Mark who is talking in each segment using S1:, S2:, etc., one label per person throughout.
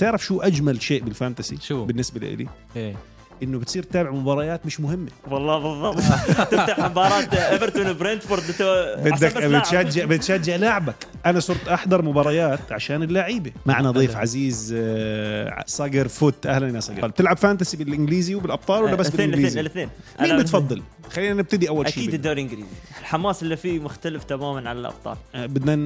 S1: تعرف شو اجمل شيء بالفانتسي
S2: شو؟
S1: بالنسبه لي
S2: ايه
S1: انه بتصير تتابع مباريات مش مهمه
S3: والله بالضبط تفتح مباراه ايفرتون وبرنتفورد أنت
S1: بدك
S3: عشان بس لاعب.
S1: بتشجع بتشجع لاعبك انا صرت احضر مباريات عشان اللعيبه معنا ضيف عزيز آه، صقر فوت اهلا يا صقر بتلعب طيب، فانتسي بالانجليزي وبالابطال ولا بس
S3: الاثنين الاثنين
S1: بالانجليزي
S3: الاثنين
S1: مين
S3: أنا-
S1: بتفضل خلينا نبتدي اول شيء
S3: اكيد
S1: بال-
S3: الدوري الانجليزي الحماس اللي فيه مختلف تماما عن الابطال
S1: آه، بدنا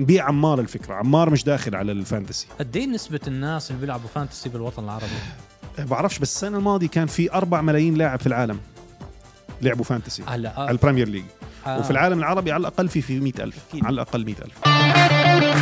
S1: نبيع عمار الفكره عمار مش داخل على الفانتسي
S2: قد ايه نسبة الناس اللي بيلعبوا فانتسي بالوطن العربي؟
S1: آه، بعرفش بس السنه الماضيه كان في 4 ملايين لاعب في العالم لعبوا فانتسي
S2: هلا
S1: على البريمير ليج
S2: آه.
S1: وفي العالم العربي على الاقل في في 100000
S3: أكيد.
S1: على الاقل 100000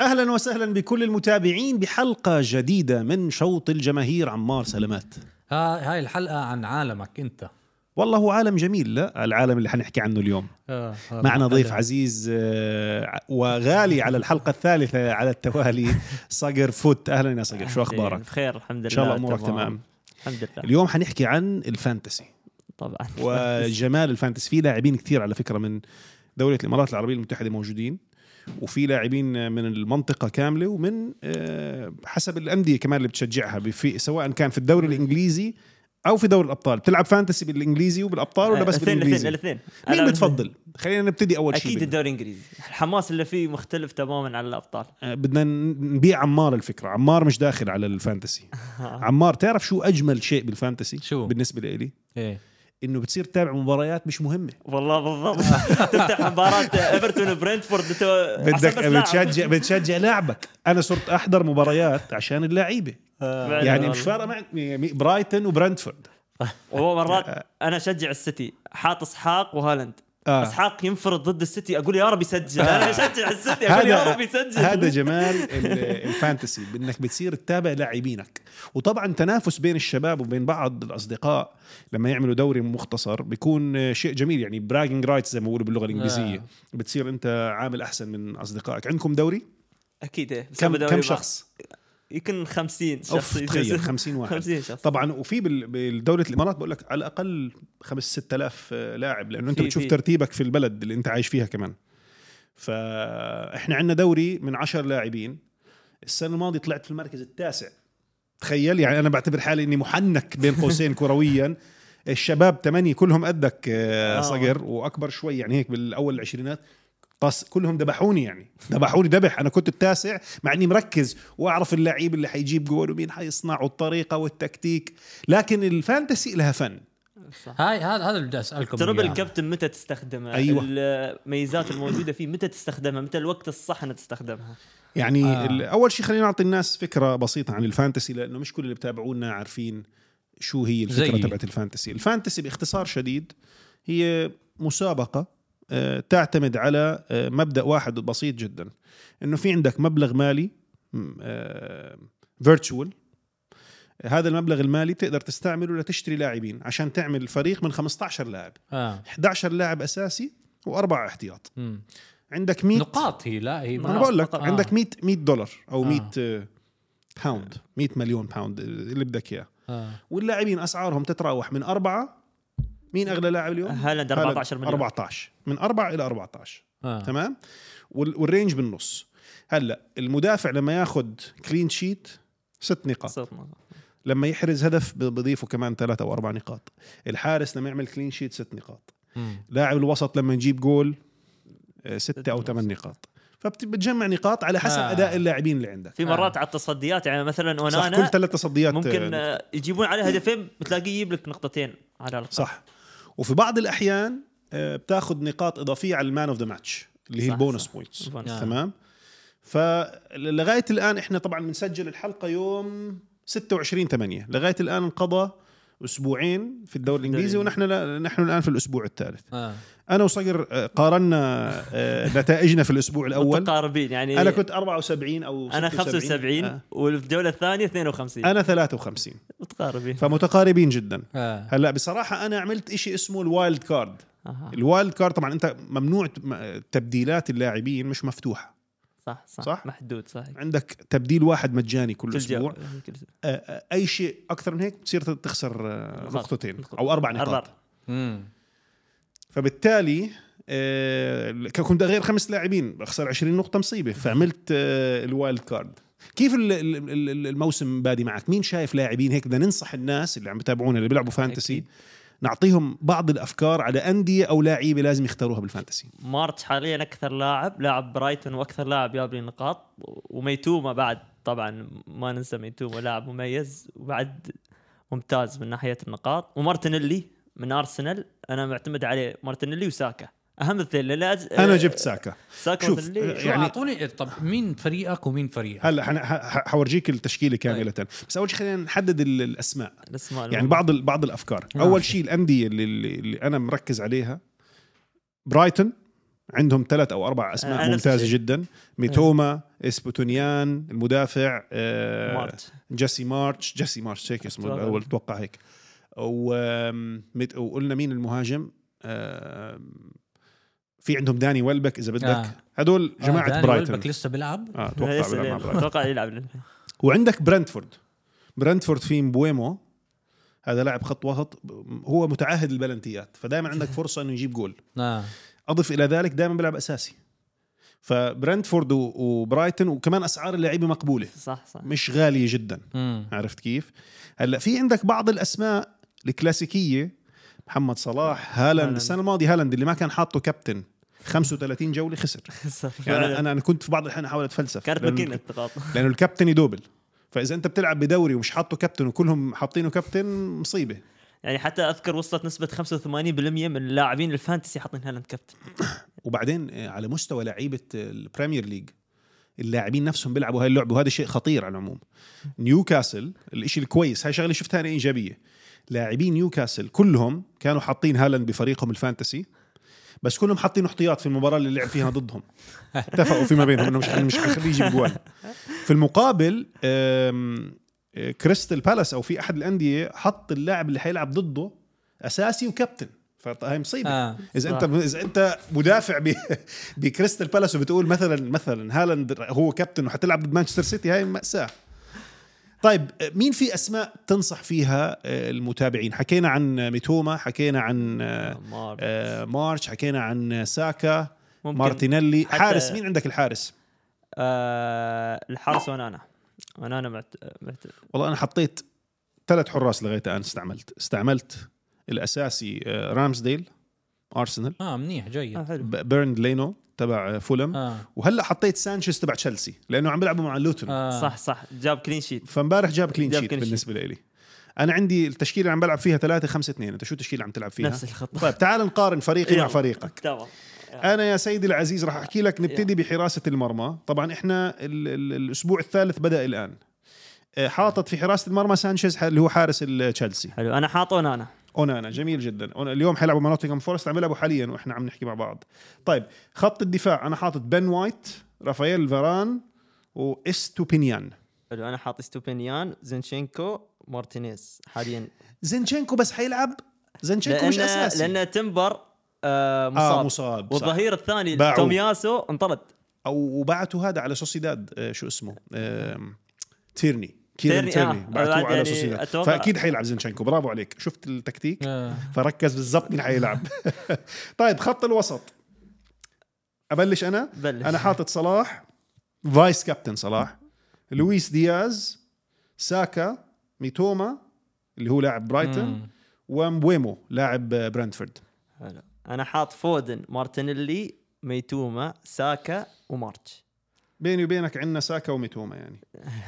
S1: اهلا وسهلا بكل المتابعين بحلقه جديده من شوط الجماهير عمار سلامات
S2: ها هاي الحلقة عن عالمك انت
S1: والله هو عالم جميل لا العالم اللي حنحكي عنه اليوم
S2: آه، آه،
S1: معنا ضيف
S2: هذا.
S1: عزيز آه، ع- وغالي على الحلقة الثالثة على التوالي صقر فوت أهلا يا صقر طيب، شو أخبارك؟
S3: يعني بخير الحمد لله
S1: إن شاء الله أمورك تمام
S3: الحمد لله
S1: اليوم حنحكي عن الفانتسي
S3: طبعا
S1: وجمال الفانتسي في لاعبين كثير على فكرة من دولة الإمارات العربية المتحدة موجودين وفي لاعبين من المنطقة كاملة ومن آه، حسب الأندية كمان اللي بتشجعها بفي سواء كان في الدوري الإنجليزي أو في دوري الأبطال بتلعب فانتسي بالإنجليزي وبالأبطال ولا بس
S3: الاثنين الاثنين
S1: بالإنجليزي؟
S3: الاثنين
S1: مين
S3: آه، أنا-
S1: بتفضل؟ خلينا نبتدي أول شيء
S3: اكيد الدوري الانجليزي الحماس اللي فيه مختلف تماما عن الابطال
S1: آه، بدنا نبيع عمار الفكره عمار مش داخل على الفانتسي
S3: آه.
S1: عمار تعرف شو اجمل شيء بالفانتسي
S2: شو؟
S1: بالنسبه لي
S2: ايه
S1: انه بتصير تتابع مباريات مش مهمه
S3: والله بالضبط تفتح مباراه ايفرتون وبرنتفورد أنت عشان آه، بس لاعب.
S1: بتشجع بتشجع لاعبك انا صرت احضر مباريات عشان اللعيبه
S3: فعلاً
S1: يعني
S3: والله.
S1: مش فارقه مع يعني برايتن وبرنتفورد
S3: وهو مرات انا اشجع السيتي حاط اسحاق وهالاند
S1: آه.
S3: اسحاق ينفرض ضد السيتي اقول يا رب يسجل انا اشجع السيتي اقول يا
S1: هذا
S3: رب يسجل
S1: هذا جمال ال- الفانتسي بانك بتصير تتابع لاعبينك وطبعا تنافس بين الشباب وبين بعض الاصدقاء لما يعملوا دوري مختصر بيكون شيء جميل يعني براجنج رايتس زي ما بيقولوا باللغه
S3: آه.
S1: الانجليزيه بتصير انت عامل احسن من اصدقائك عندكم دوري
S3: اكيد إيه. بسبب
S1: كم
S3: دوري
S1: كم
S3: بعض.
S1: شخص
S3: يمكن 50 شخص
S1: اوف تخيل
S3: يسجل.
S1: 50 واحد
S3: 50 شخص
S1: طبعا وفي بال- بالدوله الامارات بقول لك على الاقل 5 6000 لاعب لانه انت
S3: في-
S1: بتشوف
S3: في.
S1: ترتيبك في البلد اللي انت عايش فيها كمان فاحنا عندنا دوري من 10 لاعبين السنه الماضيه طلعت في المركز التاسع تخيل يعني انا بعتبر حالي اني محنك بين قوسين كرويا الشباب ثمانيه كلهم قدك آه،
S3: آه.
S1: صغر واكبر شوي يعني هيك بالاول العشرينات طس كلهم ذبحوني يعني ذبحوني ذبح انا كنت التاسع مع اني مركز واعرف اللعيب اللي حيجيب جول ومين حيصنع والطريقه والتكتيك لكن الفانتسي لها فن
S3: صح.
S2: هاي هذا هذا اللي بدي اسالكم
S3: تربل
S2: إياه.
S3: الكابتن متى تستخدمه
S1: يعني؟ أيوة.
S3: الميزات الموجوده فيه متى تستخدمها متى الوقت الصح انك تستخدمها
S1: يعني
S2: آه.
S1: آه. اول شيء خلينا نعطي الناس فكره بسيطه عن الفانتسي لانه مش كل اللي بتابعونا عارفين شو هي الفكره
S2: زيي.
S1: تبعت الفانتسي الفانتسي باختصار شديد هي مسابقه آه، تعتمد على آه، مبدا واحد بسيط جدا انه في عندك مبلغ مالي فيرتشوال هذا المبلغ المالي بتقدر تستعمله لتشتري لاعبين عشان تعمل فريق من 15 لاعب
S2: اه
S1: 11 لاعب اساسي واربعه احتياط
S2: مم.
S1: عندك 100
S2: نقاط هي لا هي
S1: انا بقول لك
S2: آه.
S1: عندك 100 100 دولار او
S2: آه.
S1: 100 آه. باوند 100 مليون باوند آه، اللي بدك اياه
S2: آه.
S1: واللاعبين اسعارهم تتراوح من اربعه مين اغلى لاعب اليوم؟
S3: هالاند
S1: هالاند،
S3: 14 مليون
S1: 14 من اربعه الى 14
S2: آه.
S1: تمام وال- والرينج بالنص هلا المدافع لما ياخذ كلين شيت ست نقاط
S3: صوت ما-
S1: لما يحرز هدف ب- بضيفه كمان ثلاثة او اربع نقاط الحارس لما يعمل كلين شيت ست نقاط
S2: مم.
S1: لاعب الوسط لما يجيب جول آه، ستة او ثمان نقاط فبتجمع نقاط على حسب
S2: آه.
S1: اداء اللاعبين اللي عندك
S3: في مرات على التصديات يعني مثلا
S1: صح كل
S3: ونانا
S1: ثلاث تصديات
S3: ممكن آه، يجيبون عليه هدفين بتلاقيه يجيب لك نقطتين على الأقل.
S1: صح وفي بعض الاحيان آه، بتاخذ نقاط اضافيه على المان اوف ذا ماتش اللي هي
S3: صح،
S1: البونس
S3: صح.
S1: بوينتس
S3: البونس.
S2: نعم.
S1: تمام فلغايه الان احنا طبعا بنسجل الحلقه يوم 26 8 لغايه الان انقضى اسبوعين في الدوري الانجليزي ونحن لا نحن الان في الاسبوع الثالث
S2: آه.
S1: انا وصقر آه، قارنا آه، نتائجنا في الاسبوع الاول
S3: متقاربين يعني
S1: انا كنت 74 او
S3: انا
S1: 76 آه.
S3: 75 وفي الجوله الثانيه 52
S1: انا 53
S3: متقاربين
S1: فمتقاربين جدا
S2: آه.
S1: هلا بصراحه انا عملت إشي اسمه الوايلد كارد
S3: أها.
S1: الوايلد كارد طبعا انت ممنوع ت- م- تبديلات اللاعبين مش مفتوحه
S3: صح
S1: صح؟
S3: صح, صح؟ محدود صح كل
S1: عندك تبديل واحد مجاني كل
S3: جو- يعني
S1: اسبوع
S3: كل أسبوع.
S1: آه، آه، اي شيء اكثر من هيك بتصير تخسر آه،
S3: نقاط.
S1: نقطتين
S3: نقاط.
S1: او اربع نقاط
S3: أربعة.
S2: مم.
S1: فبالتالي آه، كنت غير خمس لاعبين بخسر 20 نقطة مصيبة فعملت آه، الوايلد كارد كيف ال- ال- ال- الموسم بادي معك مين شايف لاعبين هيك بدنا ننصح الناس اللي عم يتابعونا اللي بيلعبوا فانتسي
S3: أكيد.
S1: نعطيهم بعض الافكار على انديه او لعيبه لازم يختاروها بالفانتسي
S3: مارتش حاليا اكثر لاعب لاعب برايتون واكثر لاعب جاب لي نقاط وميتوما بعد طبعا ما ننسى ميتوما لاعب مميز وبعد ممتاز من ناحيه النقاط ومارتينيلي من ارسنال انا معتمد عليه مارتينيلي وساكا اهم اثنين لأن أز...
S1: انا جبت ساكا
S3: ساكا
S1: شوف،
S3: مارتينيلي
S2: شو
S1: يعني-
S2: اعطوني طب مين فريقك ومين فريقك؟
S1: هلا حن- ح- حورجيك التشكيله كامله بس اول شيء خلينا نحدد ال- الاسماء
S3: الاسماء
S1: يعني
S3: المهمة.
S1: بعض ال- بعض الافكار
S2: آه.
S1: اول شيء الانديه اللي, اللي انا مركز عليها برايتون عندهم ثلاث او اربع
S3: آه،
S1: اسماء
S3: نفس
S1: ممتازه
S3: الشيء.
S1: جدا ميتوما اسبوتونيان المدافع آه،
S3: مارتش
S1: جيسي مارتش جيسي مارتش هيك اسمه
S3: أتوقع.
S1: الاول اتوقع هيك و- آم، مت- وقلنا مين المهاجم آم، في عندهم داني ولبك اذا بدك
S2: آه.
S1: هدول
S2: آه،
S1: جماعه
S2: داني
S1: برايتون
S2: ولبك لسه بيلعب
S1: اه اتوقع
S3: لسه
S1: بيلعب مع
S3: لعب.
S1: برايتون
S3: اتوقع يلعب
S1: وعندك برنتفورد برنتفورد في مبويمو هذا لاعب خط وسط هو متعهد البلنتيات فدائما عندك فرصه انه يجيب جول
S2: آه.
S1: اضف الى ذلك دائما بيلعب اساسي فبرنتفورد و- وبرايتون وكمان اسعار اللعيبه مقبوله
S3: صح صح
S1: مش غاليه جدا
S2: مم.
S1: عرفت كيف هلا في عندك بعض الاسماء الكلاسيكيه محمد صلاح هالاند
S3: هالاند.
S1: السنه الماضيه هالاند اللي ما كان حاطه كابتن 35 جوله خسر يعني أنا- انا انا كنت في بعض الاحيان احاول اتفلسف
S3: كانت
S1: لأنه
S3: ماكينه نقاط
S1: لانه الكابتن يدوبل فاذا انت بتلعب بدوري ومش حاطه كابتن وكلهم حاطينه كابتن مصيبه
S3: يعني حتى اذكر وصلت نسبه 85% من اللاعبين الفانتسي حاطين هالاند كابتن
S1: وبعدين آه، على مستوى لعيبه آه، البريمير ليج اللاعبين نفسهم بيلعبوا هاي اللعبه وهذا شيء خطير على العموم نيوكاسل الشيء الكويس هاي شغله شفتها انا ايجابيه لاعبين نيوكاسل كلهم كانوا حاطين هالاند بفريقهم الفانتسي بس كلهم حاطين احتياط في المباراه اللي لعب فيها ضدهم اتفقوا فيما بينهم انه مش مش حخليه يجيب جوال في المقابل آم، آه، كريستال بالاس او في احد الانديه حط اللاعب اللي حيلعب ضده اساسي وكابتن فهي مصيبه
S2: آه.
S1: اذا
S3: صح.
S1: انت اذا انت مدافع ب- بكريستال بالاس وبتقول مثلا مثلا هالاند هو كابتن وحتلعب ضد مانشستر سيتي هاي ماساه طيب مين في اسماء تنصح فيها آه، المتابعين حكينا عن ميتوما حكينا عن آه،
S3: مار-
S1: آه، مارش حكينا عن ساكا
S3: ممكن
S1: مارتينيلي
S3: حتى-
S1: حارس مين عندك الحارس
S3: آه الحارس ونانا ونانا معت... معت...
S1: والله انا حطيت ثلاث حراس لغايه الان استعملت استعملت الاساسي آه، رامسديل ارسنال
S2: اه منيح
S3: آه
S2: جيد
S3: حلو
S1: ب- بيرند لينو تبع آه، فولم
S2: اه
S1: وهلا حطيت سانشيز تبع تشيلسي لانه عم بيلعبوا مع لوتون آه.
S2: آه.
S3: صح صح جاب كلين شيت
S1: فامبارح جاب كلين
S3: جاب
S1: شيت
S3: clean sheet.
S1: بالنسبه لي انا عندي التشكيله اللي عم بلعب فيها 3 5 2 انت شو التشكيله عم تلعب فيها
S3: نفس الخطه
S1: طيب تعال نقارن فريقي مع
S3: يلا.
S1: فريقك
S3: تمام
S1: انا يا سيدي العزيز راح احكي لك نبتدي بحراسه المرمى طبعا احنا ال ال الاسبوع الثالث بدا الان آه، حاطط في حراسه المرمى سانشيز ح- اللي هو حارس ال- تشيلسي
S3: حلو انا حاطه ونانا
S1: اونانا جميل جدا أونا اليوم حيلعبوا مع نوتنغهام فورست عم يلعبوا حاليا واحنا عم نحكي مع بعض طيب خط الدفاع انا حاطط بن وايت رافائيل فاران واستوبينيان
S3: حلو انا حاطي ستوبينيان زينشينكو مارتينيز حاليا
S1: زينشينكو بس حيلعب زينشينكو مش اساسي
S3: لان تمبر آه مصاب,
S1: اه مصاب صح.
S3: والظهير الثاني
S1: باعوه.
S3: تومياسو انطرد
S1: او وبعتوا هذا على سوسيداد آه، شو اسمه آم، تيرني كيرن
S3: تيرني،
S1: تيرني
S3: آه.
S1: بعتوه
S3: بعد
S1: على
S3: يعني
S1: سوسيداد
S3: أتوقع-
S1: فاكيد حيلعب زينشينكو برافو عليك شفت التكتيك
S2: آه.
S1: فركز بالضبط مين حيلعب طيب خط الوسط ابلش انا
S3: بلش
S1: انا حاطط صلاح فايس كابتن صلاح لويس دياز ساكا ميتوما اللي هو لاعب برايتون
S2: مم.
S1: ومبويمو لاعب آه، برنتفورد
S3: حلو انا حاط فودن مارتينيلي ميتوما ساكا ومارتش
S1: بيني وبينك عندنا ساكا وميتوما يعني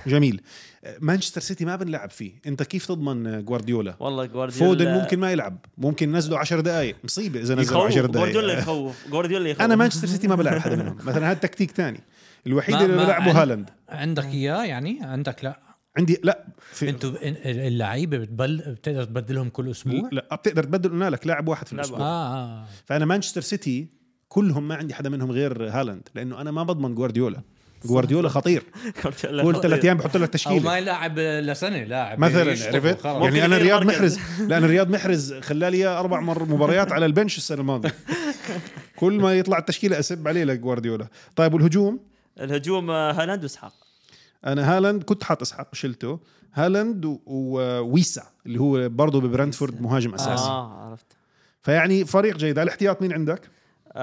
S1: جميل آه، مانشستر سيتي ما بنلعب فيه انت كيف تضمن آه، جوارديولا
S3: والله جوارديولا
S1: فودن ممكن ما يلعب ممكن نزله 10 دقائق مصيبه اذا نزله
S3: يخوف
S1: 10
S3: جوارديولا
S1: دقائق
S3: يخوف جوارديولا يخوف
S1: انا مانشستر سيتي ما بلعب حدا منهم مثلا هذا تكتيك ثاني الوحيد
S2: ما-
S1: اللي
S2: ما
S1: بلعبه
S2: عن-
S1: هالاند
S2: عندك اياه يعني عندك لا
S1: عندي لا في
S2: انتوا ب- إن- اللعيبه بتبل بتقدر تبدلهم كل اسبوع؟
S1: لا بتقدر تبدل قلنا لك لاعب واحد في
S3: لاعب
S1: الاسبوع
S2: اه
S1: فانا مانشستر سيتي كلهم ما عندي حدا منهم غير هالاند لانه انا ما بضمن جوارديولا جوارديولا خطير
S3: جوارديولا
S1: كل
S3: خطير.
S1: ثلاث ايام بحط لك
S2: او
S1: تشكيله
S2: ما يلعب لسنه لاعب
S1: مثلا
S2: يشطب
S1: عرفت
S2: وخلاص.
S1: يعني انا
S3: يغير
S1: رياض
S3: مركز.
S1: محرز لان رياض محرز خلى لي اربع مر مباريات على البنش السنه الماضيه كل ما يطلع التشكيله اسب عليه لجوارديولا طيب والهجوم
S3: الهجوم آه، هالاند واسحاق
S1: انا هالاند كنت حاط اسحاق وشلته هالاند و- وويسا اللي هو برضه ببرنتفورد مهاجم اساسي آه.
S3: اه عرفت
S1: فيعني فريق جيد على الاحتياط مين عندك؟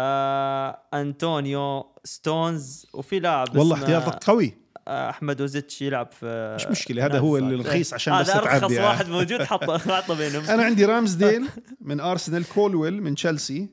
S3: آه انطونيو ستونز وفي لاعب
S1: والله
S3: اسمه-
S1: احتياطك قوي
S3: آه، احمد وزيتش يلعب في
S1: مش مشكله هذا هو
S3: نعم، صح.
S1: الرخيص عشان
S3: آه،
S1: بس
S3: هذا ارخص
S1: تعدي يعني.
S3: واحد موجود حطه حطه بينهم
S1: انا عندي رامزديل من ارسنال كولويل من تشيلسي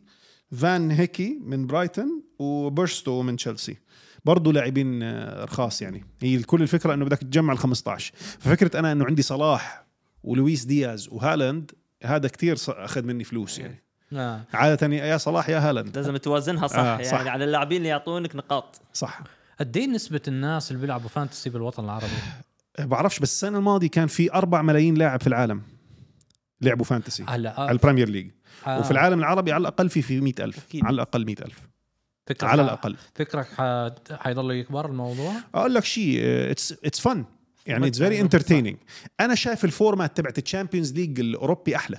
S1: فان هيكي من برايتون وبيرستو من تشيلسي برضه لاعبين آه، رخاص يعني هي كل الفكره انه بدك تجمع ال 15 ففكره انا انه عندي صلاح ولويس دياز وهالاند هذا كتير ص- اخذ مني فلوس يعني
S2: آه.
S1: عاده يا صلاح يا هالاند
S3: لازم توازنها صح,
S1: آه،
S3: آه
S1: صح.
S3: صح يعني على اللاعبين اللي يعطونك نقاط
S1: صح
S2: قد ايه نسبه الناس اللي بيلعبوا فانتسي بالوطن العربي
S1: أه، بعرفش بس السنه الماضيه كان في 4 ملايين لاعب في العالم لعبوا فانتسي
S2: هلا
S1: على البريمير ليج
S2: آه،
S1: وفي العالم العربي على الاقل في في 100000
S3: أكيد.
S1: على الاقل 100000
S2: فكرك
S1: على الاقل
S2: فكرك ح- حيضل يكبر الموضوع
S1: اقول لك شيء اتس اتس فن يعني اتس فيري
S2: متعة.
S1: انترتيننج انا شايف الفورمات تبعت الشامبيونز ليج الاوروبي احلى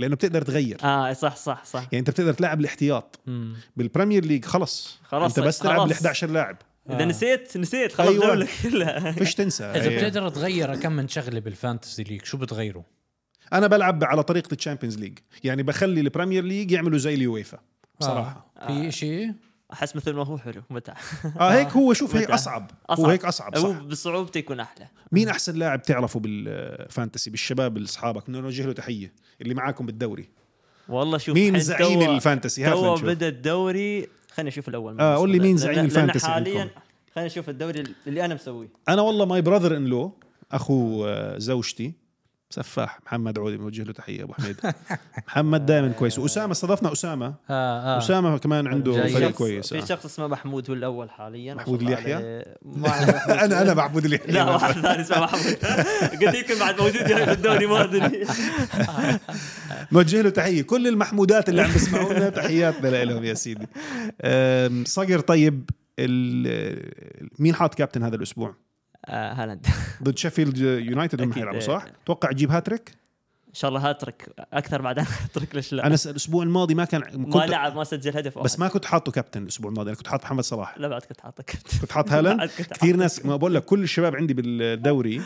S1: لانه بتقدر تغير
S3: اه صح صح صح
S1: يعني انت بتقدر تلعب الاحتياط
S2: مم.
S1: بالبريمير ليج خلص
S3: خلص،
S1: انت بس تلعب
S3: خلص.
S1: ال 11 لاعب
S3: اذا
S2: آه.
S3: نسيت نسيت خلاص
S1: أيوة.
S3: الدوله كلها
S1: فيش تنسى
S2: اذا
S1: يعني
S2: بتقدر تغير كم من شغله بالفانتسي ليج شو بتغيره؟
S1: انا بلعب على طريقه الشامبيونز ليج يعني بخلي البريمير ليج يعملوا زي اليويفا بصراحه
S2: آه. في شيء
S3: احس مثل ما هو حلو متع
S1: اه, هيك هو شوف هيك
S3: متى؟
S1: اصعب هو
S3: آه. أصعب.
S1: هيك اصعب
S3: هو
S1: آه، صح
S3: بصعوبته يكون احلى
S1: مين احسن لاعب تعرفه بالفانتسي بالشباب اصحابك بدنا نوجه له تحيه اللي معاكم بالدوري
S3: والله شوف
S1: مين
S3: الحين
S1: زعيم
S3: توا-
S1: الفانتسي هات
S3: تو
S1: لنشوف.
S3: بدا الدوري خليني اشوف الاول
S1: آه، قول لي مين
S3: لأن-
S1: زعيم
S3: لأن
S1: الفانتسي
S3: حاليا
S1: عندكم؟
S3: خليني اشوف الدوري اللي انا مسويه
S1: انا والله ماي براذر ان لو اخو آه، زوجتي سفاح محمد عودي بنوجه له تحيه ابو حميد محمد دائما كويس واسامه استضفنا اسامه
S2: آه آه.
S1: اسامه كمان عنده
S2: جاي.
S1: فريق
S3: شخص-
S1: كويس
S3: في
S1: آه.
S3: شخص اسمه محمود هو الاول حاليا ما شاء
S1: محمود إيه،
S3: الله
S1: اليحيى؟
S3: عليه. ما أعرف محمود
S1: انا انا بعبود اللي
S3: لا واحد ثاني اسمه محمود قلت يمكن بعد موجود يعني في الدوري ما ادري
S1: بنوجه له تحيه كل المحمودات اللي عم بيسمعونا تحياتنا لهم يا سيدي آم، صقر طيب ال- مين حاط كابتن هذا الاسبوع
S3: آه، هالاند
S1: ضد شيفيلد يونايتد هم
S3: أكيد.
S1: حيلعبوا صح؟ توقع يجيب هاتريك؟
S3: ان شاء الله هاترك اكثر بعدين هاتريك ليش لا
S1: انا س- الاسبوع الماضي ما كان
S3: ما
S1: كنت
S3: لعب ما سجل هدف
S1: بس ما كنت حاطه كابتن الاسبوع الماضي انا كنت حاط محمد صلاح
S3: لا بعد كنت حاطك
S1: كنت حاط هالاند
S3: بعد كنت
S1: كثير ناس ما بقول لك كل الشباب عندي بالدوري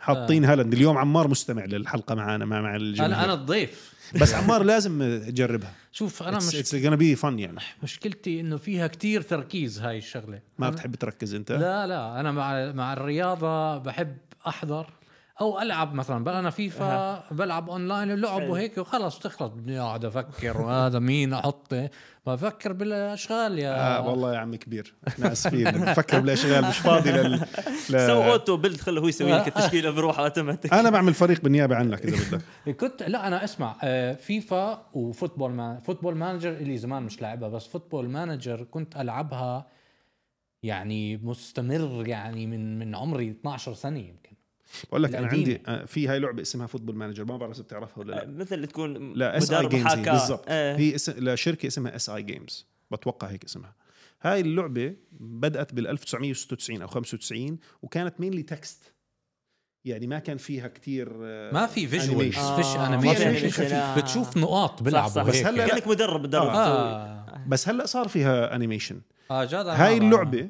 S1: حاطين
S2: آه.
S1: هالاند اليوم عمار مستمع للحلقه معنا مع مع
S2: انا انا
S1: الجمهور
S2: الضيف
S1: بس عمار لازم تجربها
S2: شوف انا مش
S1: اتس gonna بي فن يعني
S2: مشكلتي انه فيها كتير تركيز هاي الشغله
S1: ما بتحب تركز انت
S2: لا لا انا مع مع الرياضه بحب احضر او العب مثلا بل انا فيفا بلعب اونلاين اللعب
S3: حلو.
S2: وهيك وخلص تخلص بدي اقعد افكر وهذا مين احطه بفكر بالاشغال يا
S1: آه والله يا عم كبير احنا اسفين بفكر بالاشغال مش فاضي لل لا. آه.
S3: سو اوتو بيلد خله هو يسوي لك التشكيله بروحه اوتوماتيك
S1: انا بعمل فريق بالنيابه عنك اذا بدك
S2: كنت لا انا اسمع آه، فيفا وفوتبول مان فوتبول مانجر اللي زمان مش لاعبها بس فوتبول مانجر كنت العبها يعني مستمر يعني من من عمري 12 سنه يمكن
S1: بقول لك انا
S2: القديمة.
S1: عندي آه، في هاي لعبه اسمها فوتبول مانجر ما بعرف اذا بتعرفها ولا لا
S3: مثل تكون
S1: لا اس اي
S3: مدرب
S1: جيمز
S3: حاكى.
S1: بالضبط
S3: إيه.
S1: هي اسم لشركه اسمها اس اي جيمز بتوقع هيك اسمها هاي اللعبه بدات بال 1996 او 95 وكانت مينلي تكست يعني ما كان فيها كتير آه،
S2: ما في فيجوال
S1: animation.
S3: آه.
S2: فيش
S1: ما في
S2: انيميشن
S1: animation.
S3: آه.
S2: بتشوف نقاط بيلعبوا
S3: صح.
S1: بس
S2: هيك
S1: هلا لا. آه.
S3: كانك مدرب مدرب تسوي.
S2: اه
S1: بس هلا صار فيها انيميشن
S2: اه جد أنا
S1: هاي
S2: ما-
S1: اللعبه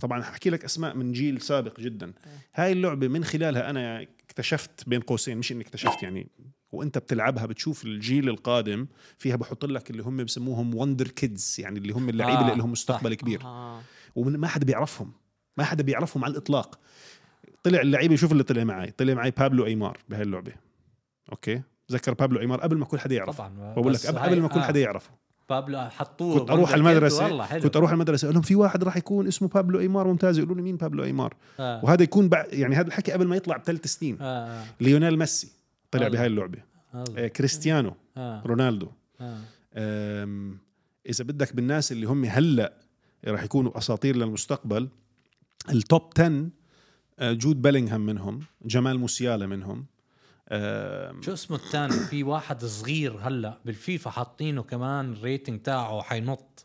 S1: طبعا حكي لك اسماء من جيل سابق جدا
S2: إيه.
S1: هاي اللعبه من خلالها انا اكتشفت بين قوسين مش اني اكتشفت يعني وانت بتلعبها بتشوف الجيل القادم فيها بحط لك اللي هم بسموهم وندر كيدز يعني اللي هم اللعيبه
S2: آه،
S1: اللي لهم مستقبل
S2: صح.
S1: كبير
S3: آه.
S1: وما حدا بيعرفهم ما حدا بيعرفهم على الاطلاق طلع اللعيبه شوف اللي طلع معي طلع معي بابلو ايمار بهاي اللعبه اوكي ذكر بابلو ايمار قبل ما كل حدا يعرف
S2: طبعا
S1: بقول
S2: بس
S1: لك قبل
S2: هاي-
S1: قبل ما كل
S2: آه،
S1: حدا يعرفه
S2: بابلو حطوه
S1: كنت اروح على
S2: بالبركة.
S1: المدرسه
S2: والله حلو
S1: كنت اروح على المدرسه اقول لهم في واحد راح يكون اسمه بابلو ايمار ممتاز يقولوا لي مين بابلو ايمار
S2: آه.
S1: وهذا يكون بع... يعني هذا الحكي قبل ما يطلع بثلاث سنين
S2: آه، آه،
S1: ليونيل ميسي طلع
S2: آه.
S1: بهاي اللعبه
S2: آه،
S1: آه، كريستيانو
S2: آه،
S1: رونالدو
S2: آه.
S1: أم، اذا بدك بالناس اللي هم هلا راح يكونوا اساطير للمستقبل التوب 10 آه، جود بيلينغهام منهم جمال موسيالا منهم أم،
S2: شو اسمه الثاني في واحد صغير هلا بالفيفا حاطينه كمان الريتنج تاعه حينط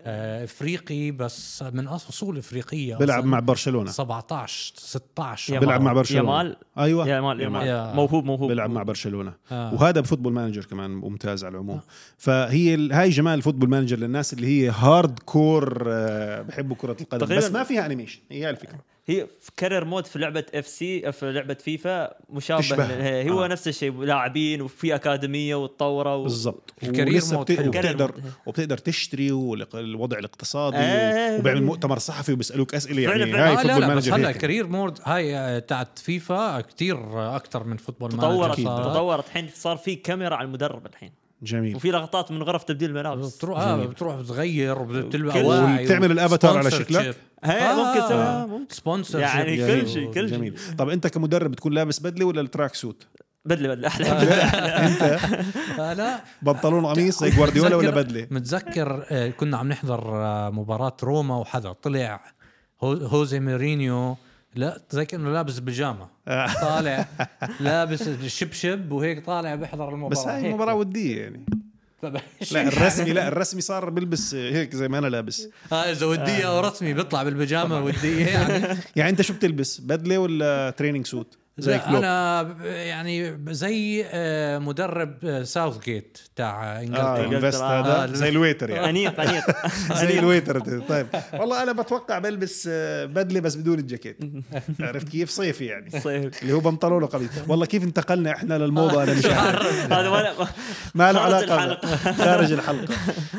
S2: آه، افريقي بس من اصول افريقيه
S1: بيلعب
S2: أصلاً.
S1: مع برشلونه
S2: 17 16
S3: يا
S1: بيلعب
S3: مال.
S1: مع برشلونة.
S3: يامال
S1: ايوه
S3: يامال يامال
S2: يا-
S3: موهوب موهوب
S1: بيلعب مع برشلونه
S2: آه.
S1: وهذا بفوتبول مانجر كمان ممتاز على
S3: آه.
S1: العموم فهي ال- هاي جمال الفوتبول مانجر للناس اللي هي هارد كور آه، بحبوا كره القدم
S3: تقريباً-
S1: بس ما فيها انيميشن هي الفكره
S3: هي في كارير مود في لعبه اف سي في لعبه فيفا مشابه
S1: تشبه.
S3: ل- هو
S1: آه.
S3: نفس الشيء لاعبين وفي اكاديميه وتطوروا و...
S1: بالضبط
S2: الكارير
S1: ولسه
S2: مود
S1: بت-
S2: حلو.
S1: وبتقدر
S3: الكارير مود.
S1: وبتقدر تشتري والوضع الاقتصادي
S3: آه.
S1: وبيعمل مؤتمر صحفي وبيسالوك اسئله
S3: فعلاً،
S1: يعني
S3: فعلاً.
S1: هاي
S2: آه لا
S1: فوتبول
S2: لا بس
S1: مانجر
S2: هلا
S1: هيك.
S2: كارير مود هاي آه، تاعت فيفا كتير اكثر من فوتبول آه،
S3: تطورت
S1: أكيد.
S2: صارت.
S3: تطورت الحين صار في كاميرا على المدرب الحين
S1: جميل
S3: وفي لقطات من غرف تبديل الملابس
S2: بتروح آه
S1: جميل.
S2: بتروح بتغير وبتلبس
S3: وكل-
S2: اواعي
S1: وبتعمل الأفاتار على شكلك؟
S2: آه،
S3: هي، ممكن تسويها، ممكن.
S2: سبونسر
S3: يعني كل شيء كل شيء
S1: جميل طب انت كمدرب بتكون لابس بدله ولا التراك سوت
S3: بدله بدله احلى بدله
S1: آه.
S2: فلا
S1: بنطلون قميص زي جوارديولا ولا
S2: آه، متذكر-
S1: بدله
S2: متذكر آه، كنا عم نحضر آه، مباراة روما وحدا طلع هو- هوزي مورينيو لا زي كانه لابس بيجامه
S1: آه.
S2: طالع لابس الشبشب وهيك طالع بيحضر المباراه
S1: بس هاي
S2: هيك.
S1: المباراه وديه يعني
S2: طب-
S1: لا الرسمي لا الرسمي صار بلبس هيك زي ما انا لابس
S2: ها اذا وديه
S1: آه.
S2: او رسمي بيطلع بالبيجامه وديه يعني
S1: يعني انت شو بتلبس بدله ولا تريننج سوت زي
S2: لا،
S1: كلوب
S2: انا ب- يعني زي آه، مدرب آه، ساوث جيت تاع
S1: اه
S2: انجلترا
S1: الفيست
S2: آه،
S1: هذا زي الويتر يعني
S3: انيق انيق آه،
S1: زي الويتر طيب والله انا بتوقع بلبس آه، بدله بس بدون الجاكيت عرفت كيف صيفي يعني
S3: صيف.
S1: اللي هو بنطلون وقميص والله كيف انتقلنا احنا للموضه انا مش عارف
S3: هذا ولا
S1: ما له
S3: خارج
S1: علاقه خارج الحلقه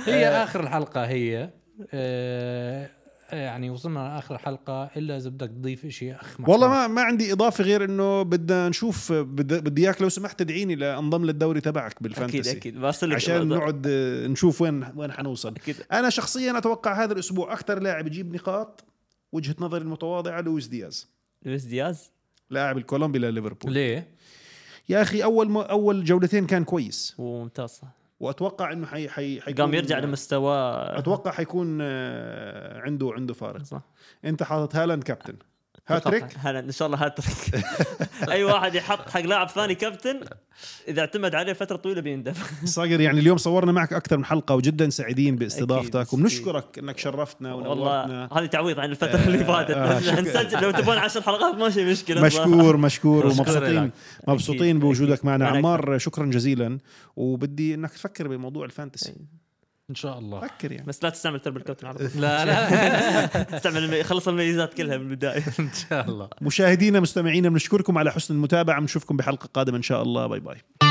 S2: هي
S1: آه.
S2: اخر الحلقه هي آه، يعني وصلنا لاخر الحلقه الا اذا بدك تضيف شيء اخ محمد.
S1: والله ما ما عندي اضافه غير انه بدنا نشوف بدي بدي اياك لو سمحت تدعيني لانضم للدوري تبعك بالفانتسي
S3: اكيد اكيد بصل
S1: عشان نقعد آه، نشوف وين وين حنوصل
S3: اكيد
S1: انا شخصيا اتوقع هذا الاسبوع اكثر لاعب يجيب نقاط وجهه نظري المتواضعه لويس دياز
S3: لويس دياز
S1: لاعب الكولومبي لليفربول
S2: ليه؟
S1: يا اخي اول ما اول جولتين كان كويس
S3: وممتاز صح
S1: واتوقع انه حي حي حيكون-
S3: قام يرجع لمستواه
S1: اتوقع حيكون آه، عنده عنده فارق
S3: صح
S1: انت حاطط هالاند كابتن هاتريك
S3: هلا ان شاء الله هاتريك اي واحد يحط حق لاعب ثاني كابتن اذا اعتمد عليه فتره طويله بيندف
S1: صقر يعني اليوم صورنا معك اكثر من حلقه وجدا سعيدين باستضافتك
S3: أكيد.
S1: وبنشكرك انك شرفتنا
S3: والله
S1: ونورتنا
S3: هذه تعويض عن الفتره اللي فاتت
S1: آه، شكراً.
S3: نسجل لو تبون عشر حلقات ماشي مشكله
S1: مشكور مشكور
S2: مشكور
S1: ومبسوطين
S2: لك.
S1: مبسوطين
S3: أكيد،
S1: بوجودك معنا
S3: أنا
S1: عمار شكرا جزيلا وبدي انك تفكر بموضوع الفانتسي
S2: ان شاء الله
S1: فكر يعني
S3: بس لا تستعمل تربل كابتن على طول
S2: لا لا
S3: استعمل المي- خلص الميزات كلها من البدايه
S2: ان شاء الله
S1: مشاهدينا مستمعينا بنشكركم على حسن المتابعه بنشوفكم بحلقه قادمه ان شاء الله باي باي